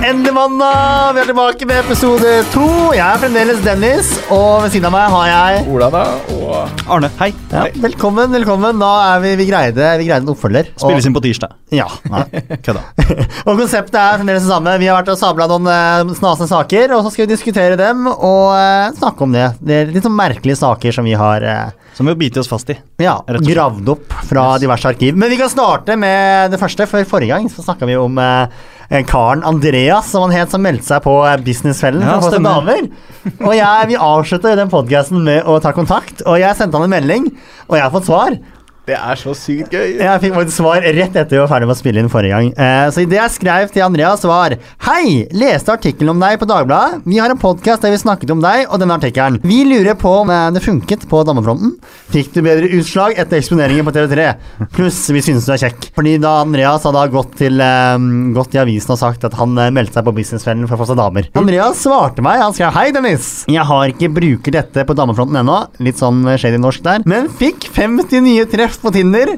Endelig mandag! Vi er tilbake med episode to. Jeg er fremdeles Dennis, og ved siden av meg har jeg Ola, da. Og Arne, hei. ja, Velkommen, velkommen. Da er vi, vi greide Vi greide en oppfølger. Og- Spilles inn på tirsdag. Ja. Nei. Kødda. og konseptet er fremdeles det samme. Vi har vært og sabla noen eh, snasende saker, og så skal vi diskutere dem og eh, snakke om det. Det er litt sånn merkelige saker som vi har eh, Som vi må bite oss fast i. ja, Rett og slett. gravd opp fra diverse arkiv. Men vi kan starte med det første. For forrige gang så snakka vi om eh, eh, karen Andreas, som han het, som meldte seg på eh, Businessfellen. Ja, for å få seg stemmer. damer. Og jeg, vi avslutta den podkasten med å ta kontakt, og jeg sendte han en melding, og jeg har fått svar. det er så sykt gøy. Jeg fikk faktisk svar rett etter vi var ferdig med å spille inn forrige gang. Eh, så det jeg skrev til Andreas, var Hei! Leste artikkelen om deg på Dagbladet. Vi har en podkast der vi snakket om deg og denne artikkelen. Vi lurer på om eh, det funket på damefronten. Fikk du bedre utslag etter eksponeringen på TV3? Pluss vi synes du er kjekk. Fordi da Andreas hadde gått til eh, gått i avisen og sagt at han eh, meldte seg på Businessfellen for å få seg damer. Andreas svarte meg. Han skrev Hei, Dennis. Jeg har ikke bruker dette på damefronten ennå. Litt sånn eh, shady norsk der. Men fikk 50 nye treff på Tinder.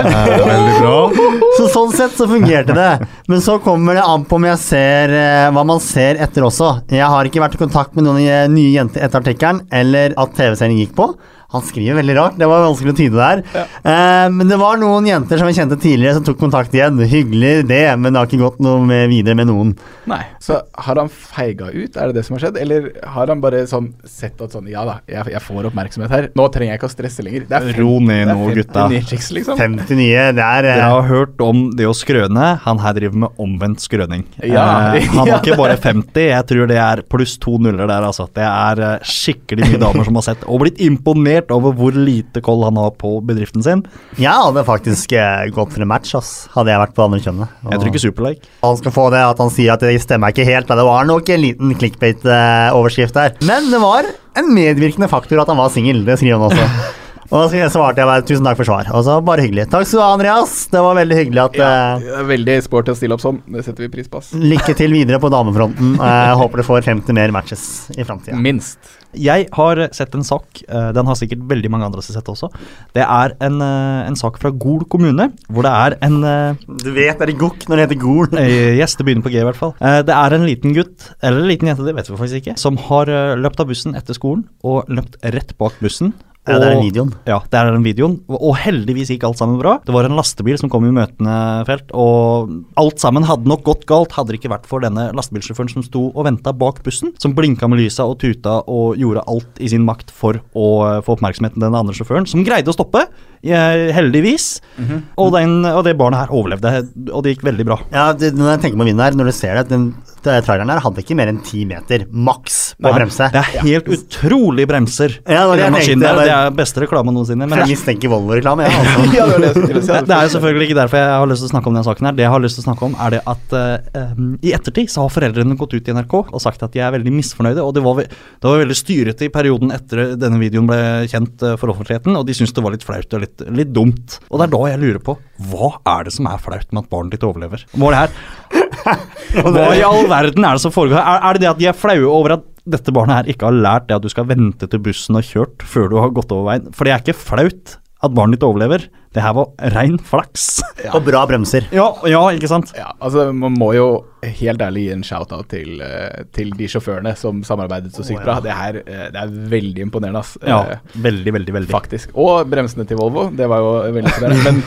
Veldig bra. Så sånn sett så fungerte det. Men så kommer det an på om jeg ser eh, hva man ser etter også. Jeg har ikke vært i kontakt med noen eh, nye jenter etter artikkelen, eller at TV-serien gikk på. Han skriver veldig rart. Det var vanskelig å tyde der. Eh, men det var noen jenter som jeg kjente tidligere, som tok kontakt igjen. Hyggelig det, men det har ikke gått noe med videre med noen. Nei. Så har han feiga ut, er det det som har skjedd? Eller har han bare sånn sett at sånn Ja da, jeg, jeg får oppmerksomhet her. Nå trenger jeg ikke å stresse lenger. Det er Ro ned nå, det er gutta. 50 nye chicks, liksom. 50 nye, det er eh, Dere har hørt om det å skrøne. Han her driver med omvendt skrøning. Ja. Eh, han Ja, har ikke bare 50, jeg tror det er pluss to nuller der, altså. Det er eh, skikkelig mye damer som har sett og blitt imponert over hvor lite koll han har på bedriften sin. Jeg hadde faktisk eh, gått for en match, ass. Hadde jeg vært på andre kjønnet. Jeg tror ikke Superlike. Han skal få det at han sier at det stemmer ikke helt, men det var nok en liten clickbait-overskrift der. Men det var en medvirkende faktor at han var singel, det skriver han også. Og da skrev jeg- svarte jeg bare tusen takk for svar. Og så bare hyggelig. Takk skal du ha, Andreas. Det var veldig hyggelig at Ja, eh, det er veldig sporty å stille opp sånn. Det setter vi pris på. ass. Lykke til videre på damefronten. Eh, Jeg håper du får 50 mer matches i framtida. Minst. Jeg har sett en sak, eh, den har sikkert veldig mange andre sett også. Det er en, eh, en sak fra Gol kommune, hvor det er en eh, Du vet det er gokk når det heter gol. Eh, Yes, det begynner på G i hvert fall. Eh, Det er en liten gutt, eller en liten jente, det vet vi faktisk ikke, som har eh, løpt av bussen etter skolen og løpt rett bak bussen. Ja, det er og- den videoen. Ja, det er den videoen. Og- Og heldigvis gikk alt sammen bra. Det var en lastebil som kom i møtende felt, og alt sammen hadde nok gått galt hadde det ikke vært for denne lastebilsjåføren som sto og venta bak bussen, som blinka med lysa og tuta og gjorde alt i sin makt for å eh, få oppmerksomheten til den andre sjåføren, som greide å stoppe, eh, heldigvis. Mhm. og, den, og det barnet her overlevde, og det gikk veldig bra. Ja, det, når jeg tenker på vinden her, når du ser det, den den traileren her hadde ikke mer enn ti meter, maks, på Nei, bremse. Det er helt utrolig bremser. Ja, det var det i den jeg tenkte, maskinen der. det Det var- er beste reklame noensinne. Men Jeg det, mistenker Volvo-reklame, jeg. Ja, altså. Ja, det var det jeg skulle til å si. det det er jo selvfølgelig ikke derfor jeg har lyst til å snakke om denne saken. her Det jeg har lyst til å snakke om, er det at eh, em, i ettertid så har foreldrene gått ut i NRK og sagt at de er veldig misfornøyde. Og det var, ve- det var veldig styrete i perioden etter denne videoen ble kjent eh, for offentligheten, og de syntes det var litt flaut og litt, litt dumt. Og det er da jeg lurer på hva er det som er flaut med at barnet ditt overlever? Hva er det her? Hva i all verden er det som foregår? Er, er det det at de er flaue over at dette barnet her ikke har lært det at du skal vente til bussen har kjørt før du har gått over veien? For det er ikke flaut at barnet ditt overlever. Det her var rein flaks. Og bra bremser. Ja, ja, ikke sant? Ja, altså Man må jo helt ærlig gi en shout-out til, eh, til de sjåførene som samarbeidet så sykt bra. Det, her, eh, det er veldig imponerende, ass. Ja, Eh, veldig, veldig, veldig. Faktisk. Og bremsene til Volvo. Det var jo veldig imponerende. Men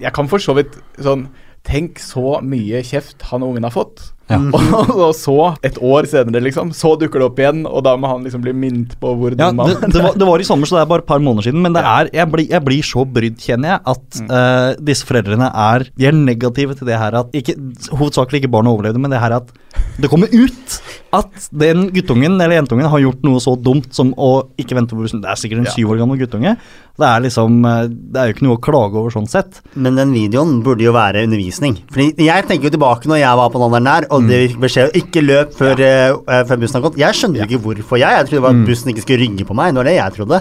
jeg kan for så vidt sånn Tenk så mye kjeft han ungen har fått. Ja. Og, og så, et år senere, liksom, så dukker det opp igjen, og da må han liksom bli minnet på hvor Ja, dum han det, det, var, det var i sommer, så det er bare et par måneder siden. Men det er, jeg, blir, jeg blir så brydd, kjenner jeg, at eh, disse foreldrene er De er negative til det her at ikke, Hovedsakelig ikke barnet overlevde, men det her at det kommer ut at den guttungen eller jentungen har gjort noe så dumt som å ikke vente på bussen. Det er sikkert en Ja. syv år gammel guttunge. Det er liksom eh, Det er jo ikke noe å klage over sånn sett. Men den videoen burde jo være undervisning. Fordi Jeg tenker jo tilbake når jeg var på den alderen der, og det vi fikk beskjed om ikke løp før, eh, eh, før bussen har gått. Jeg skjønte jo ikke hvorfor jeg. Jeg trodde det var at bussen ikke skulle rygge på meg. Det var det jeg trodde.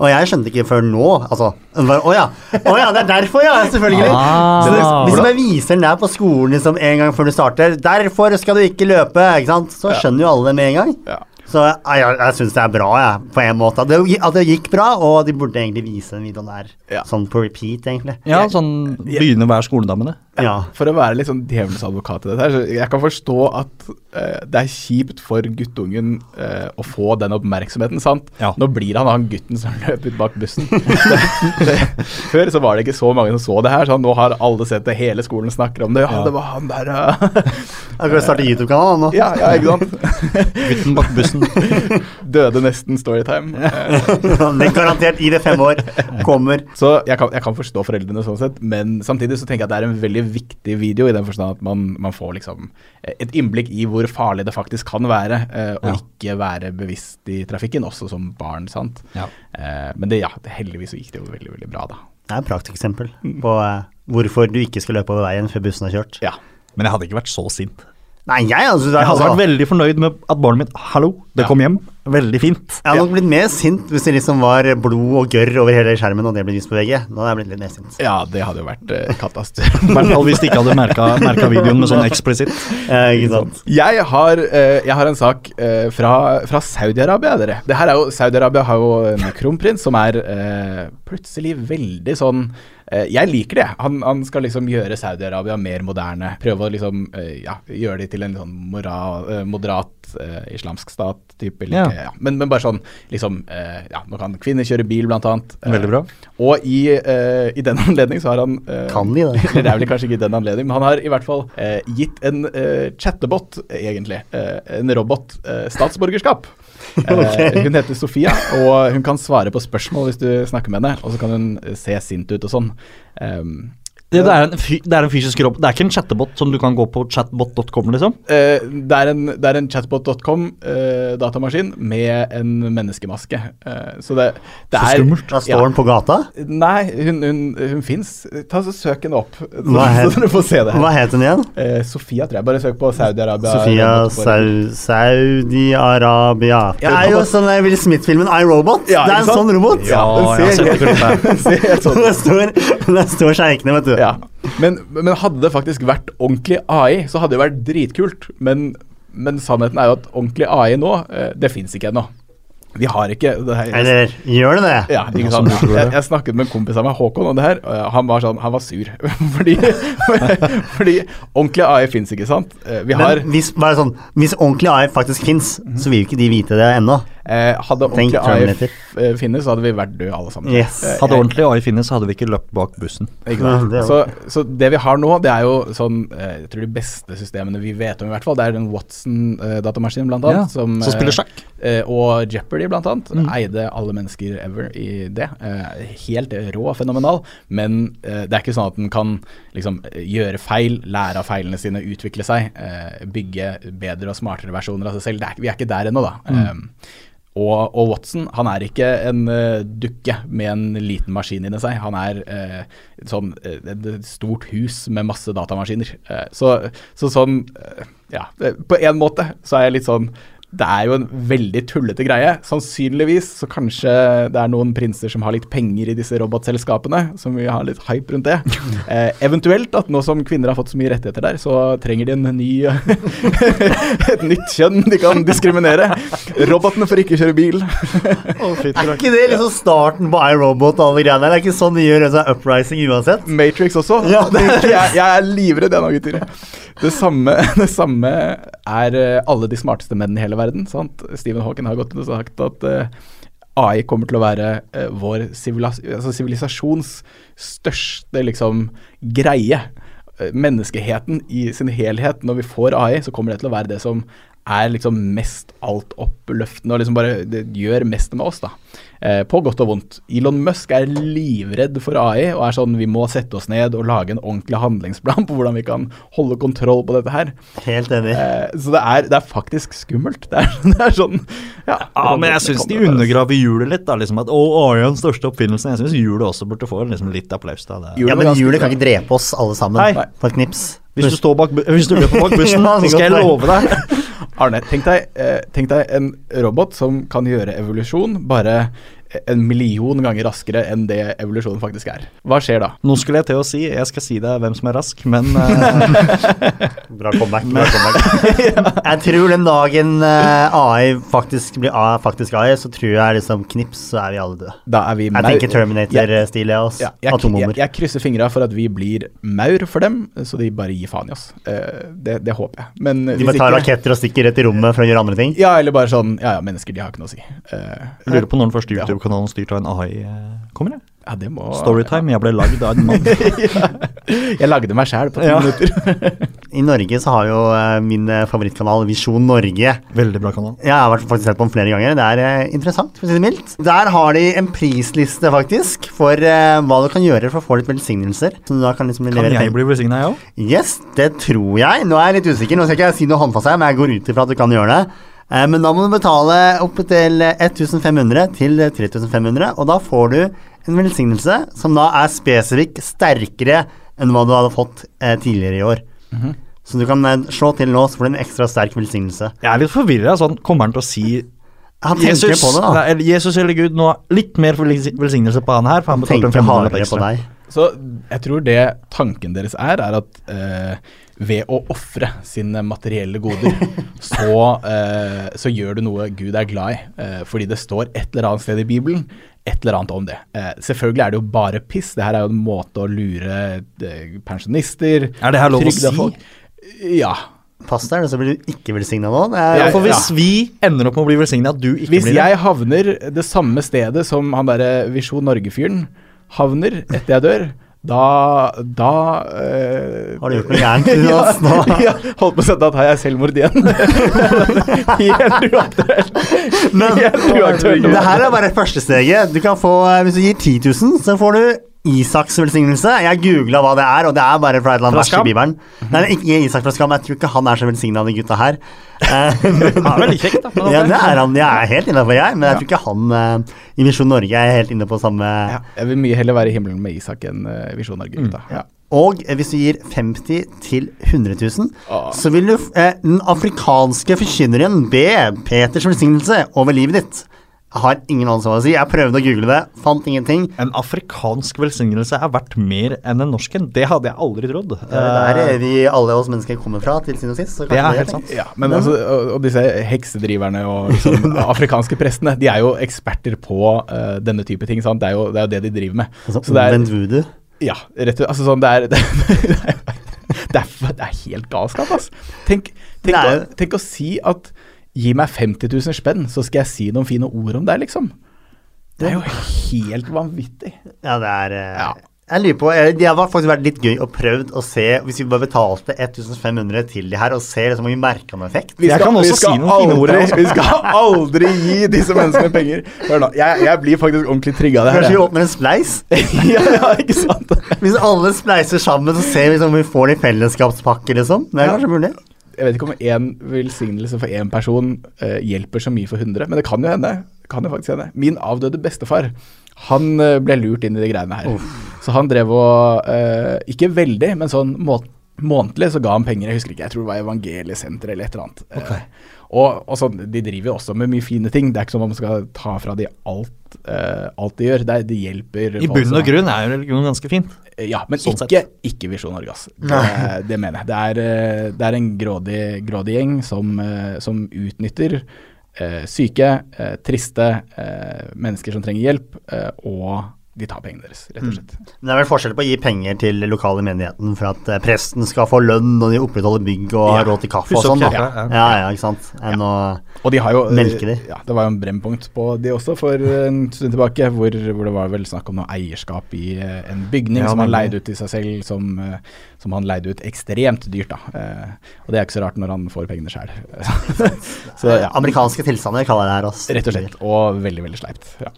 Og jeg skjønte ikke før nå Altså bare, Å ja. Å ja, det er derfor, ja! Selvfølgelig. Ah. Så det, hvis jeg viser den der på skolen liksom, en gang før du starter 'Derfor skal du ikke løpe', ikke sant? så skjønner jo alle det med en gang. Ja. Så jeg, jeg, jeg syns det er bra, jeg, på en måte. At det, at det gikk bra, og de burde egentlig vise den videoen der Ja. sånn på repeat, egentlig. Ja, sånn Begynne hver skoledag med det. Ja. For å være litt sånn djevelens advokat i dette her, så jeg kan forstå at eh, det er kjipt for guttungen eh, å få den oppmerksomheten, sant? Ja. Nå blir han han gutten som løp ut bak bussen. det, det, før så var det ikke så mange som så det her, sånn, nå har alle sett det, hele skolen snakker om det, ja, Ja. det var han der, ja. Jeg kan starte YouTube-kanal nå. ja, ja, ikke sant? Gutten bak bussen. Døde nesten storytime. Eh, Men garantert, i det fem år, kommer Så jeg kan, jeg kan forstå foreldrene sånn sett, men samtidig så tenker jeg at det er en veldig viktig video i den forstand at man, man får liksom eh, et innblikk i hvor farlig det faktisk kan være, eh, og Ja. ikke være bevisst i trafikken, også som barn, sant. Ja. Eh, men det, ja, det, heldigvis så gikk det jo veldig, veldig bra, da. Det er et prakteksempel på eh, hvorfor du ikke skal løpe over veien før bussen har kjørt. Ja. Men jeg hadde ikke vært så sint. Nei, jeg altså, det er- Jeg hadde altså, vært veldig fornøyd med at barnet mitt Hallo, det Ja. kom hjem. Veldig fint. Jeg hadde nok blitt mer sint hvis det liksom var blod og gørr over hele skjermen, og det ble vist på VG. Da hadde jeg blitt litt mer sint. ja, det hadde jo vært eh, I hvert katastrofe. fall hvis de ikke hadde merka videoen med sånn eksplisitt. Eh, ikke sant? Jeg har, eh, jeg har en sak eh, fra, fra Saudi-Arabia, dere. Det her er jo, Saudi-Arabia har jo en kronprins som er eh, plutselig veldig sånn eh, Jeg liker det. Han, han skal liksom gjøre Saudi-Arabia mer moderne. Prøve å liksom eh, ja, gjøre de til en sånn mora, eh, moderat eh, islamsk stat-type. eller Ja. ikke, Ja. Men, men bare sånn liksom eh, Ja, nå kan kvinner kjøre bil, blant annet. Eh, Veldig bra. Og i, eh, i den anledning så har han eh, Kan de det? eller det er vel kanskje ikke i den anledning, men han har i hvert fall eh, gitt en eh, chattebot, eh, egentlig, eh, en robot, eh, statsborgerskap. Eh, Hun heter Sofia, og hun kan svare på spørsmål hvis du snakker med henne. Og så kan hun eh, se sint ut og sånn. Um, Det, det, er en fy, det er en fysisk robot. Det er ikke en chattebot som du kan gå på chatbot.com, liksom. eh, det er en, det er en chatbot.com eh, datamaskin med en menneskemaske. Eh, så det, det Så er skummelt. Da står Ja. den på gata. Nei, hun, hun, hun fins. Ta så Søk henne opp, så, Hva het- så dere får se det. her. Hva het hun igjen? Eh, Sofia, tror jeg. Bare søk på Saudi-Arabia. Sofia robot for- Sau Saudi-Arabia. Det Ja, er jo robot. sånn der Will Smith-filmen I, Robot. Det Ja, er en ikke sant? sånn robot. Ja, jeg den har ser sett det før. Den ser helt sånn Den står, den står sjeikene, vet du. Ja. Men, men hadde det faktisk vært ordentlig AI, så hadde det vært dritkult. Men, men sannheten er jo at ordentlig AI nå, eh, det fins ikke ennå. Vi har ikke det her. Eller gjør det det? ja, ikke Ja, sant? som du tror, Jeg, ja. jeg snakket med en kompis av meg, Håkon, om det her. og Han var sånn, han var sur. fordi, fordi ordentlig AI fins ikke, sant? Eh, Vi har Men hvis, bare sånn, hvis ordentlig AI faktisk fins, så vil jo ikke de vite det ennå. eh, Hadde Tenk ordentlig AI Terminator. f- eh, finnes, så hadde vi vært døde alle sammen. Yes. Eh, Hadde jeg- ordentlig AI finnes, så hadde vi ikke løpt bak bussen. Ikke Ja, sant? det er så, så det vi har nå, det er jo sånn eh, Jeg tror de beste systemene vi vet om, i hvert fall. Det er den Watson-datamaskinen, blant annet. Ja, som spiller eh, sjakk. Mm. eh, Og Jeopardy, blant annet. Eide alle mennesker ever i det. Eh, Helt rå og fenomenal. Men eh, det er ikke sånn at den kan liksom gjøre feil, lære av feilene sine, utvikle seg. eh, Bygge bedre og smartere versjoner av seg selv. Det er, ikke- vi er ikke der ennå, da. Mm. Eh, og, og Watson han er ikke en eh, dukke med en liten maskin inni seg. Han er eh, sånn, eh, et et stort hus med masse datamaskiner. Eh, så, så sånn eh, Ja, eh, på en måte så er jeg litt sånn Det er jo en veldig tullete greie. Sannsynligvis så kanskje det er noen prinser som har litt penger i disse robotselskapene, som vi har litt hype rundt det. Eh, eventuelt at nå som kvinner har fått så mye rettigheter der, så trenger de en ny Et nytt kjønn de kan diskriminere. Robotene får ikke kjøre bil. Er ikke det liksom starten på iRobot og alle de greiene der? Det er ikke sånn de gjør en sånn uprising uansett? Matrix også. Ja, Det- jeg, jeg er livredd, jeg nå, gutter. Det samme, det samme er eh, alle de smarteste menn i hele verden. Sant? Stephen Hawking har gått ut og sagt at eh, AI kommer til å være eh, vår sivilas altså sivilisasjons største liksom, greie. Eh, Menneskeheten i sin helhet. Når vi får AI, så kommer det til å være det som er liksom mest altoppløftende og liksom bare det gjør mest med oss, da. Eh, på godt og vondt. Elon Musk er livredd for AI og er sånn vi må sette oss ned og lage en ordentlig handlingsplan på hvordan vi kan holde kontroll på dette her. Helt enig. Eh, så det er, det er faktisk skummelt. Det er, det er sånn Ja, Ja, men jeg syns de undergraver hjulet litt. da, liksom at Å, AI er den største oppfinnelsen. Jeg syns hjulet også burde få liksom, litt applaus. da. Det. er- Hjulet Ja, men ganske- hjulet kan ikke drepe oss alle sammen Nei. på et knips. Hvis du, står bak, bu- hvis du løper bak bussen, Ja, det så skal jeg kan love deg. Arne, tenk deg, eh, tenk deg en robot som kan gjøre evolusjon, bare en million ganger raskere enn det evolusjonen faktisk er. Hva skjer da? Nå skulle jeg til å si, jeg skal si deg hvem som er rask, men eh, Bra comeback. Bra comeback. Jeg tror den dagen eh, AI faktisk blir A, faktisk AI, så tror jeg liksom knips, så er vi alle døde. Da er vi Jeg maur. tenker Terminator-stil, jeg, altså. Ja, jeg, jeg, Atombomber. jeg krysser fingra for at vi blir maur for dem, så de bare gir faen i oss. Eh, det, det håper jeg. Men De bare tar raketter og stikker rett i rommet for å gjøre andre ting. Ja, eller bare sånn Ja, ja, mennesker, de har ikke noe å si. Eh, lurer på når den første Ja. YouTube-kanalen styrt av en AI eh, kommer. jeg? ja, det må Storytime. Jeg ble lagd av en mann. Jeg lagde meg sjæl på ti Ja. minutter. I Norge så har jo eh, min eh, favorittkanal Visjon Norge Veldig bra kanal. Jeg har vært- faktisk sett på den flere ganger. Det er eh, interessant, for å si det mildt. Der har de en prisliste, faktisk, for eh, hva du kan gjøre for å få litt velsignelser. Så du da kan liksom Kan levere jeg penger. bli besigna, jeg òg? Yes, det tror jeg. Nå er jeg litt usikker, nå skal ikke jeg si noe håndfast her, men jeg går ut ifra at du kan gjøre det. Eh, Men da må du betale opp til 1500 til 3500, og da får du en velsignelse som da er spesifikt sterkere enn hva du hadde fått eh, tidligere i år. Mhm. Så du kan eh, slå til nå, så får du en ekstra sterk velsignelse. Jeg er litt forvirra. Sånn, kommer han til å si Han tenker på det, da. Nei, eller Jesus eller Gud, nå litt mer velsi- velsignelse på han her, for han betalte en tenker 500 hardere lapp på ekstra. deg. Så jeg tror det tanken deres er, er at eh, ved å ofre sine materielle goder, så, eh, så gjør du noe Gud er glad i. eh, fordi det står et eller annet sted i Bibelen et eller annet om det. Eh, selvfølgelig er det jo bare piss. Det her er jo en måte å lure eh, pensjonister Er det her lov å trygda si? folk. Ja. Pass deg, så blir du ikke velsigna nå. Det er, Ja, Jeg- for hvis vi ender opp med å bli velsigna, at du ikke Hvis blir det jeg havner det samme stedet som han derre Visjon Norge-fyren havner etter jeg dør, da, da eh, Har du gjort noe gærent? til ja, oss nå? ja, holdt på å si at da tar jeg selvmord igjen. Helt uaktuelt. Men Helt uaktuelt. det her er bare første steget. Du kan få, eh, hvis du gir 10 000, så får du Isaks velsignelse. Jeg googla hva det er, og det er bare fra et eller annet vers i Skam? Bibelen. Nei, ikke Isak fra Skam. Jeg tror ikke han er så velsigna, de gutta her. Eh, men- Han er veldig kjekk, da. men ja, ok. det er han. Jeg er helt innafor, jeg. Men jeg tror ikke han eh, i Visjon Norge er helt inne på samme Ja, jeg vil mye heller være i himmelen med Isak enn eh, Visjon Mm. Norge. gutta. Ja. Og eh, hvis du gir 50 til 100 000, Ah. så vil du, f- eh, den afrikanske forkynneren be Peters velsignelse over livet ditt. Jeg har ingen anelse hva å si. Jeg prøvde å google det, fant ingenting. En afrikansk velsignelse er verdt mer enn en norsk en. Det hadde jeg aldri trodd. Det er eh, der vi alle oss mennesker kommer fra, til sin og sist. Så Det kanskje er helt tenkt. sant. Ja, men altså, og, og disse heksedriverne og liksom, afrikanske prestene, de er jo eksperter på eh, denne type ting. Sant? Det, er jo, det er jo det de driver med. Altså, Så det er- omvendt voodoo. Ja, rett og altså sånn, det er, det, er, det, er, det er helt galskap, altså. Tenk, tenk, Nei. å, tenk å si at gi meg 50 000 spenn, så skal jeg si noen fine ord om deg, liksom. Det er jo helt vanvittig. Ja, det er eh, Ja. Jeg lurer på, eh, Det hadde faktisk vært litt gøy å prøvd å se, hvis vi bare betalte 1500 til de her, og se liksom, om vi merka noen effekt. Vi Jeg kan også vi skal si noen fine ord, aldri- altså. Vi skal aldri gi disse menneskene penger. Hør nå, jeg, jeg blir faktisk ordentlig trigga av det Kanskje vi her. åpner en spleis? ja, ja, ikke sant? Hvis alle spleiser sammen, så ser vi liksom om vi får det i fellesskapspakke, liksom. Det er Ja. kanskje mulig. Jeg vet ikke om én velsignelse for én person eh, hjelper så mye for 100, men det kan jo hende. Det kan jo faktisk hende. Min avdøde bestefar han eh, ble lurt inn i de greiene her. Så han drev og eh, Ikke veldig, men sånn må månedlig så ga han penger. Jeg husker ikke, jeg tror det var Evangeliesenteret eller et eller annet. Eh, og, og sånn, De driver jo også med mye fine ting. Det er ikke som om man skal ta fra de alt, eh, alt de gjør. Det er, de hjelper Eh, I folk bunn som- og grunn er jo religion ganske fint. Eh, ja, men Sånn ikke, ikke Visjon Norge, ass. Det, det mener jeg. Det er, eh, det er en grådig, grådig gjeng som, eh, som utnytter eh, syke, eh, triste eh, mennesker som trenger hjelp, eh, og de tar pengene deres, rett Mm. og slett. Men det er vel forskjell på å gi penger til lokale menigheten for at eh, presten skal få lønn, og de opprettholder bygg og har Ja. råd til kaffe og Pusse opp sånn. da. kirka, ja. Ja, ja, ikke sant. Enn å Og de har jo eh, Melke de. Ja, det var jo en brennpunkt på de også for en stund tilbake, hvor, hvor det var vel snakk om noe eierskap i eh, en bygning Ja, som han nemlig. leide ut til seg selv, som, eh, som han leide ut ekstremt dyrt, da. Eh, Og det er ikke så rart når han får pengene sjøl. så ja. Amerikanske tilstander kaller jeg det her. ass. Rett og slett. Og veldig, veldig sleipt. Ja.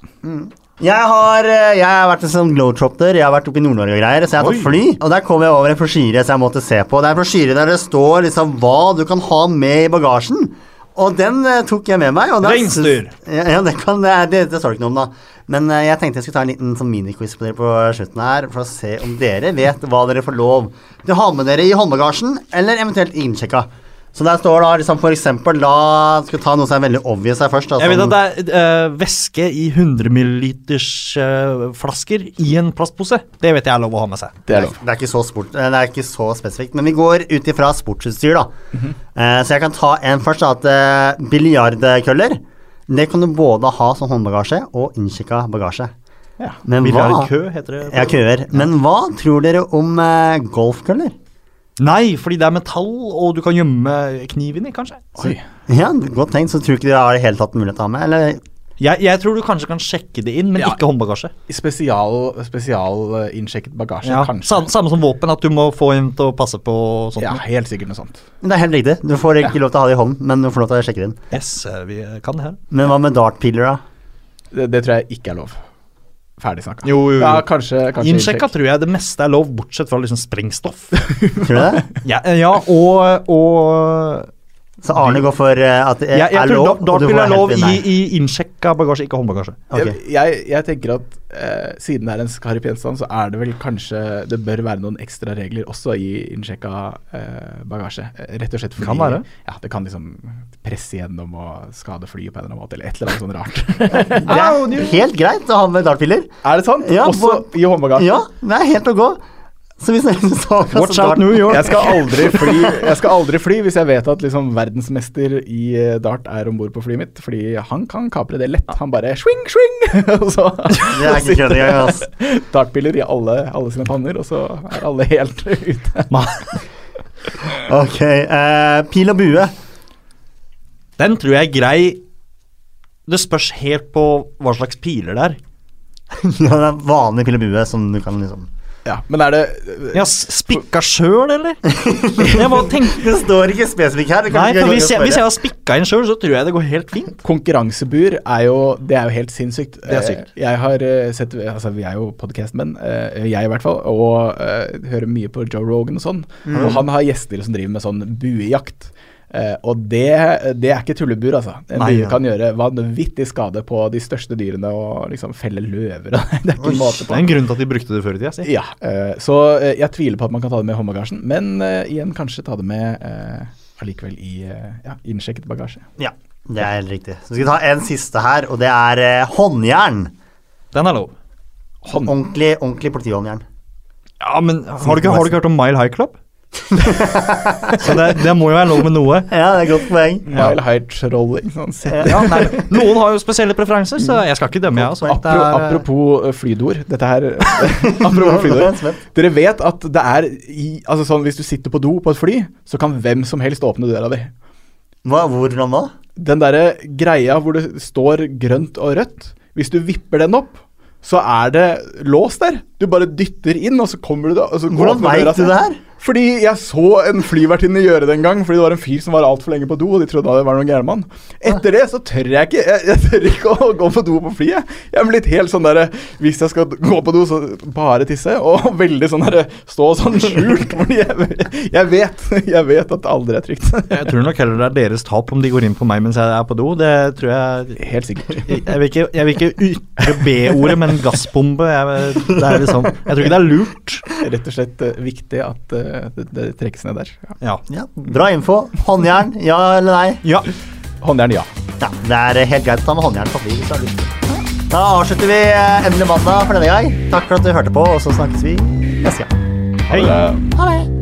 Jeg har, eh, jeg har vært en sånn glowtropter, jeg har vært oppe i Nord-Norge og greier, så jeg har tatt Oi. fly. Og der kom jeg over en brosjyre som jeg måtte se på. Det er en brosjyre der det står liksom hva du kan ha med i bagasjen. Og den eh, tok jeg med meg. og da- Reinsdyr. Ja, ja, det, kan, det, er- det, det står det ikke noe om, da. Men eh, jeg tenkte jeg skulle ta en liten sånn miniquiz på dere på slutten her, for å se om dere vet hva dere får lov til å ha med dere i håndbagasjen, eller eventuelt innsjekka. Så der står da liksom for eksempel La skal vi ta noe som er veldig obvious her først. Da, Jeg vet som- at det er eh, væske i 100 milliliters eh, flasker i en plastpose. Det vet jeg er lov å ha med seg. Det er lov. Det er ikke så, sport, eh, det er ikke så spesifikt, men vi går ut ifra sportsutstyr, da. Mhm. Eh, så jeg kan ta en først. da, At eh, Biljardkøller. Det kan du både ha som håndbagasje og innkikka bagasje. Ja. Men Vil være hva, kø, heter det. ja, køer. Men hva tror dere om eh, golfkøller? Nei, fordi det er metall, og du kan gjemme kniv inni, kanskje. Oi. Ja, Godt tenkt. Så tror du ikke dere har i det hele tatt mulighet til å ha med? Eller Jeg, jeg tror du kanskje kan sjekke det inn, men Ja. ikke håndbagasje. Spesial, spesial eh, innsjekket bagasje, Ja. kanskje. Samme, samme som våpen, at du må få en til å passe på og sånt. Ja, helt sikkert noe sånt. Men Det er helt riktig. Du får ikke lov til å ha det i hånden, men du får lov til å sjekke det inn. Yes, eh, vi eh, kan det her. Men hva med dartpiler, da? Det, det tror jeg ikke er lov. Ferdig snakka. Jo, jo, jo. Ja, kanskje, kanskje Innsjekka innsjekk. tror jeg det meste er lov, bortsett fra liksom sprengstoff. Tror du det? ja, eh, ja, og, og Så Arne går for eh, at det Jeg, jeg er tror lov, da- dartbil er lov i, nei. i innsjekka bagasje, ikke håndbagasje. Ok. Jeg, jeg, jeg tenker at eh, siden det er en skarp gjenstand, så er det vel kanskje Det bør være noen ekstra regler også i innsjekka eh, bagasje. Eh, Rett og slett fordi Kan være. Ja, det kan liksom presse gjennom og skade flyet på en eller annen måte, eller et eller annet sånn rart. Det er helt greit å ha med dartpiler. er det sant? Ja, også i håndbagasjen? Ja, det er helt å gå. Så hvis dere så Watch out New York. Jeg skal, aldri fly, jeg skal aldri fly hvis jeg vet at liksom verdensmester i eh, dart er om bord på flyet mitt. Fordi han kan kapre det lett. Han bare swing, swing! og så Det er ikke kødd engang, ass. dartpiller i alle, alle sine panner, og så er alle helt ute. Ok, eh, pil og bue. Den tror jeg er grei. Det spørs helt på hva slags piler det er. Ja, det er vanlig pil og bue som du kan liksom Ja, men er det Ja, s- Spikka sjøl, eller? Jeg bare tenker Det står ikke spesifikt her. Nei, for hvis jeg, hvis jeg har spikka inn sjøl, så tror jeg det går helt fint. Konkurransebur er jo Det er jo helt sinnssykt. Det er sykt. Eh, Jeg har eh, sett Altså, vi er jo podkastmenn, jeg i hvert fall, og eh, hører mye på Joe Rogan og sånn. Mm. Og han har gjester som driver med sånn buejakt. Eh, og det, det er ikke tullebur, altså. En Nei, bue ja. kan gjøre vanvittig skade på de største dyrene og liksom felle løver og Det er ikke måte Det er på. en grunn til at de brukte det før i tida. si. Ja, eh, så eh, jeg tviler på at man kan ta det med i håndbagasjen, men eh, igjen kanskje ta det med eh, allikevel i eh, ja, innsjekket bagasje. Ja, det er helt riktig. Så skal vi ta en siste her, og det er eh, håndjern. Den er lov. Hånd. Ordentlig, ordentlig politihåndjern. Ja, men har du ikke, har du ikke hørt om Mile High Club? så det, det må jo være lov med noe. Ja, det er et godt poeng. Mile high trolling. Sånn Eh, sett. Ja, nei, noen har jo spesielle preferanser, så jeg skal ikke dømme, jeg. Altså. Apro, apropos eh, flydoer. Dette her Apropos Nå er jeg flydoer. spent. Dere vet at det er i Altså sånn hvis du sitter på do på et fly, så kan hvem som helst åpne døra di. Hva, hvordan da? Den derre greia hvor det står grønt og rødt, hvis du vipper den opp, så er det lås der. Du bare dytter inn, og så kommer du da og så Hvordan åpner døra vet du seg. det her? Fordi jeg så en flyvertinne gjøre det en gang, fordi det var en fyr som var altfor lenge på do, og de trodde det var noen gærne mann. Etter det så tør jeg ikke jeg, jeg tør ikke å gå på do på flyet. Jeg er blitt helt sånn derre Hvis jeg skal gå på do, så bare tisse. Og veldig sånn derre Stå sånn skjult, fordi jeg, jeg vet Jeg vet at det aldri er trygt. Jeg tror nok heller det er deres tap om de går inn på meg mens jeg er på do. Det tror jeg Helt sikkert. Jeg jeg vil ikke, jeg vil ikke ytre B-ordet, men gassbombe. Jeg, det er liksom, jeg tror ikke det er lurt. Rett og slett eh, viktig at eh, det, det trekkes ned der. Ja. Ja. Ja, bra info. Håndjern, ja eller nei? ja. Håndjern, ja. Ja, det er eh, helt greit å ta med håndjern på fly hvis du har lyst. Da avslutter vi eh, Endelig mandag for denne gang. Takk for at du hørte på, og så snakkes vi neste gang. Ha det. Ha det.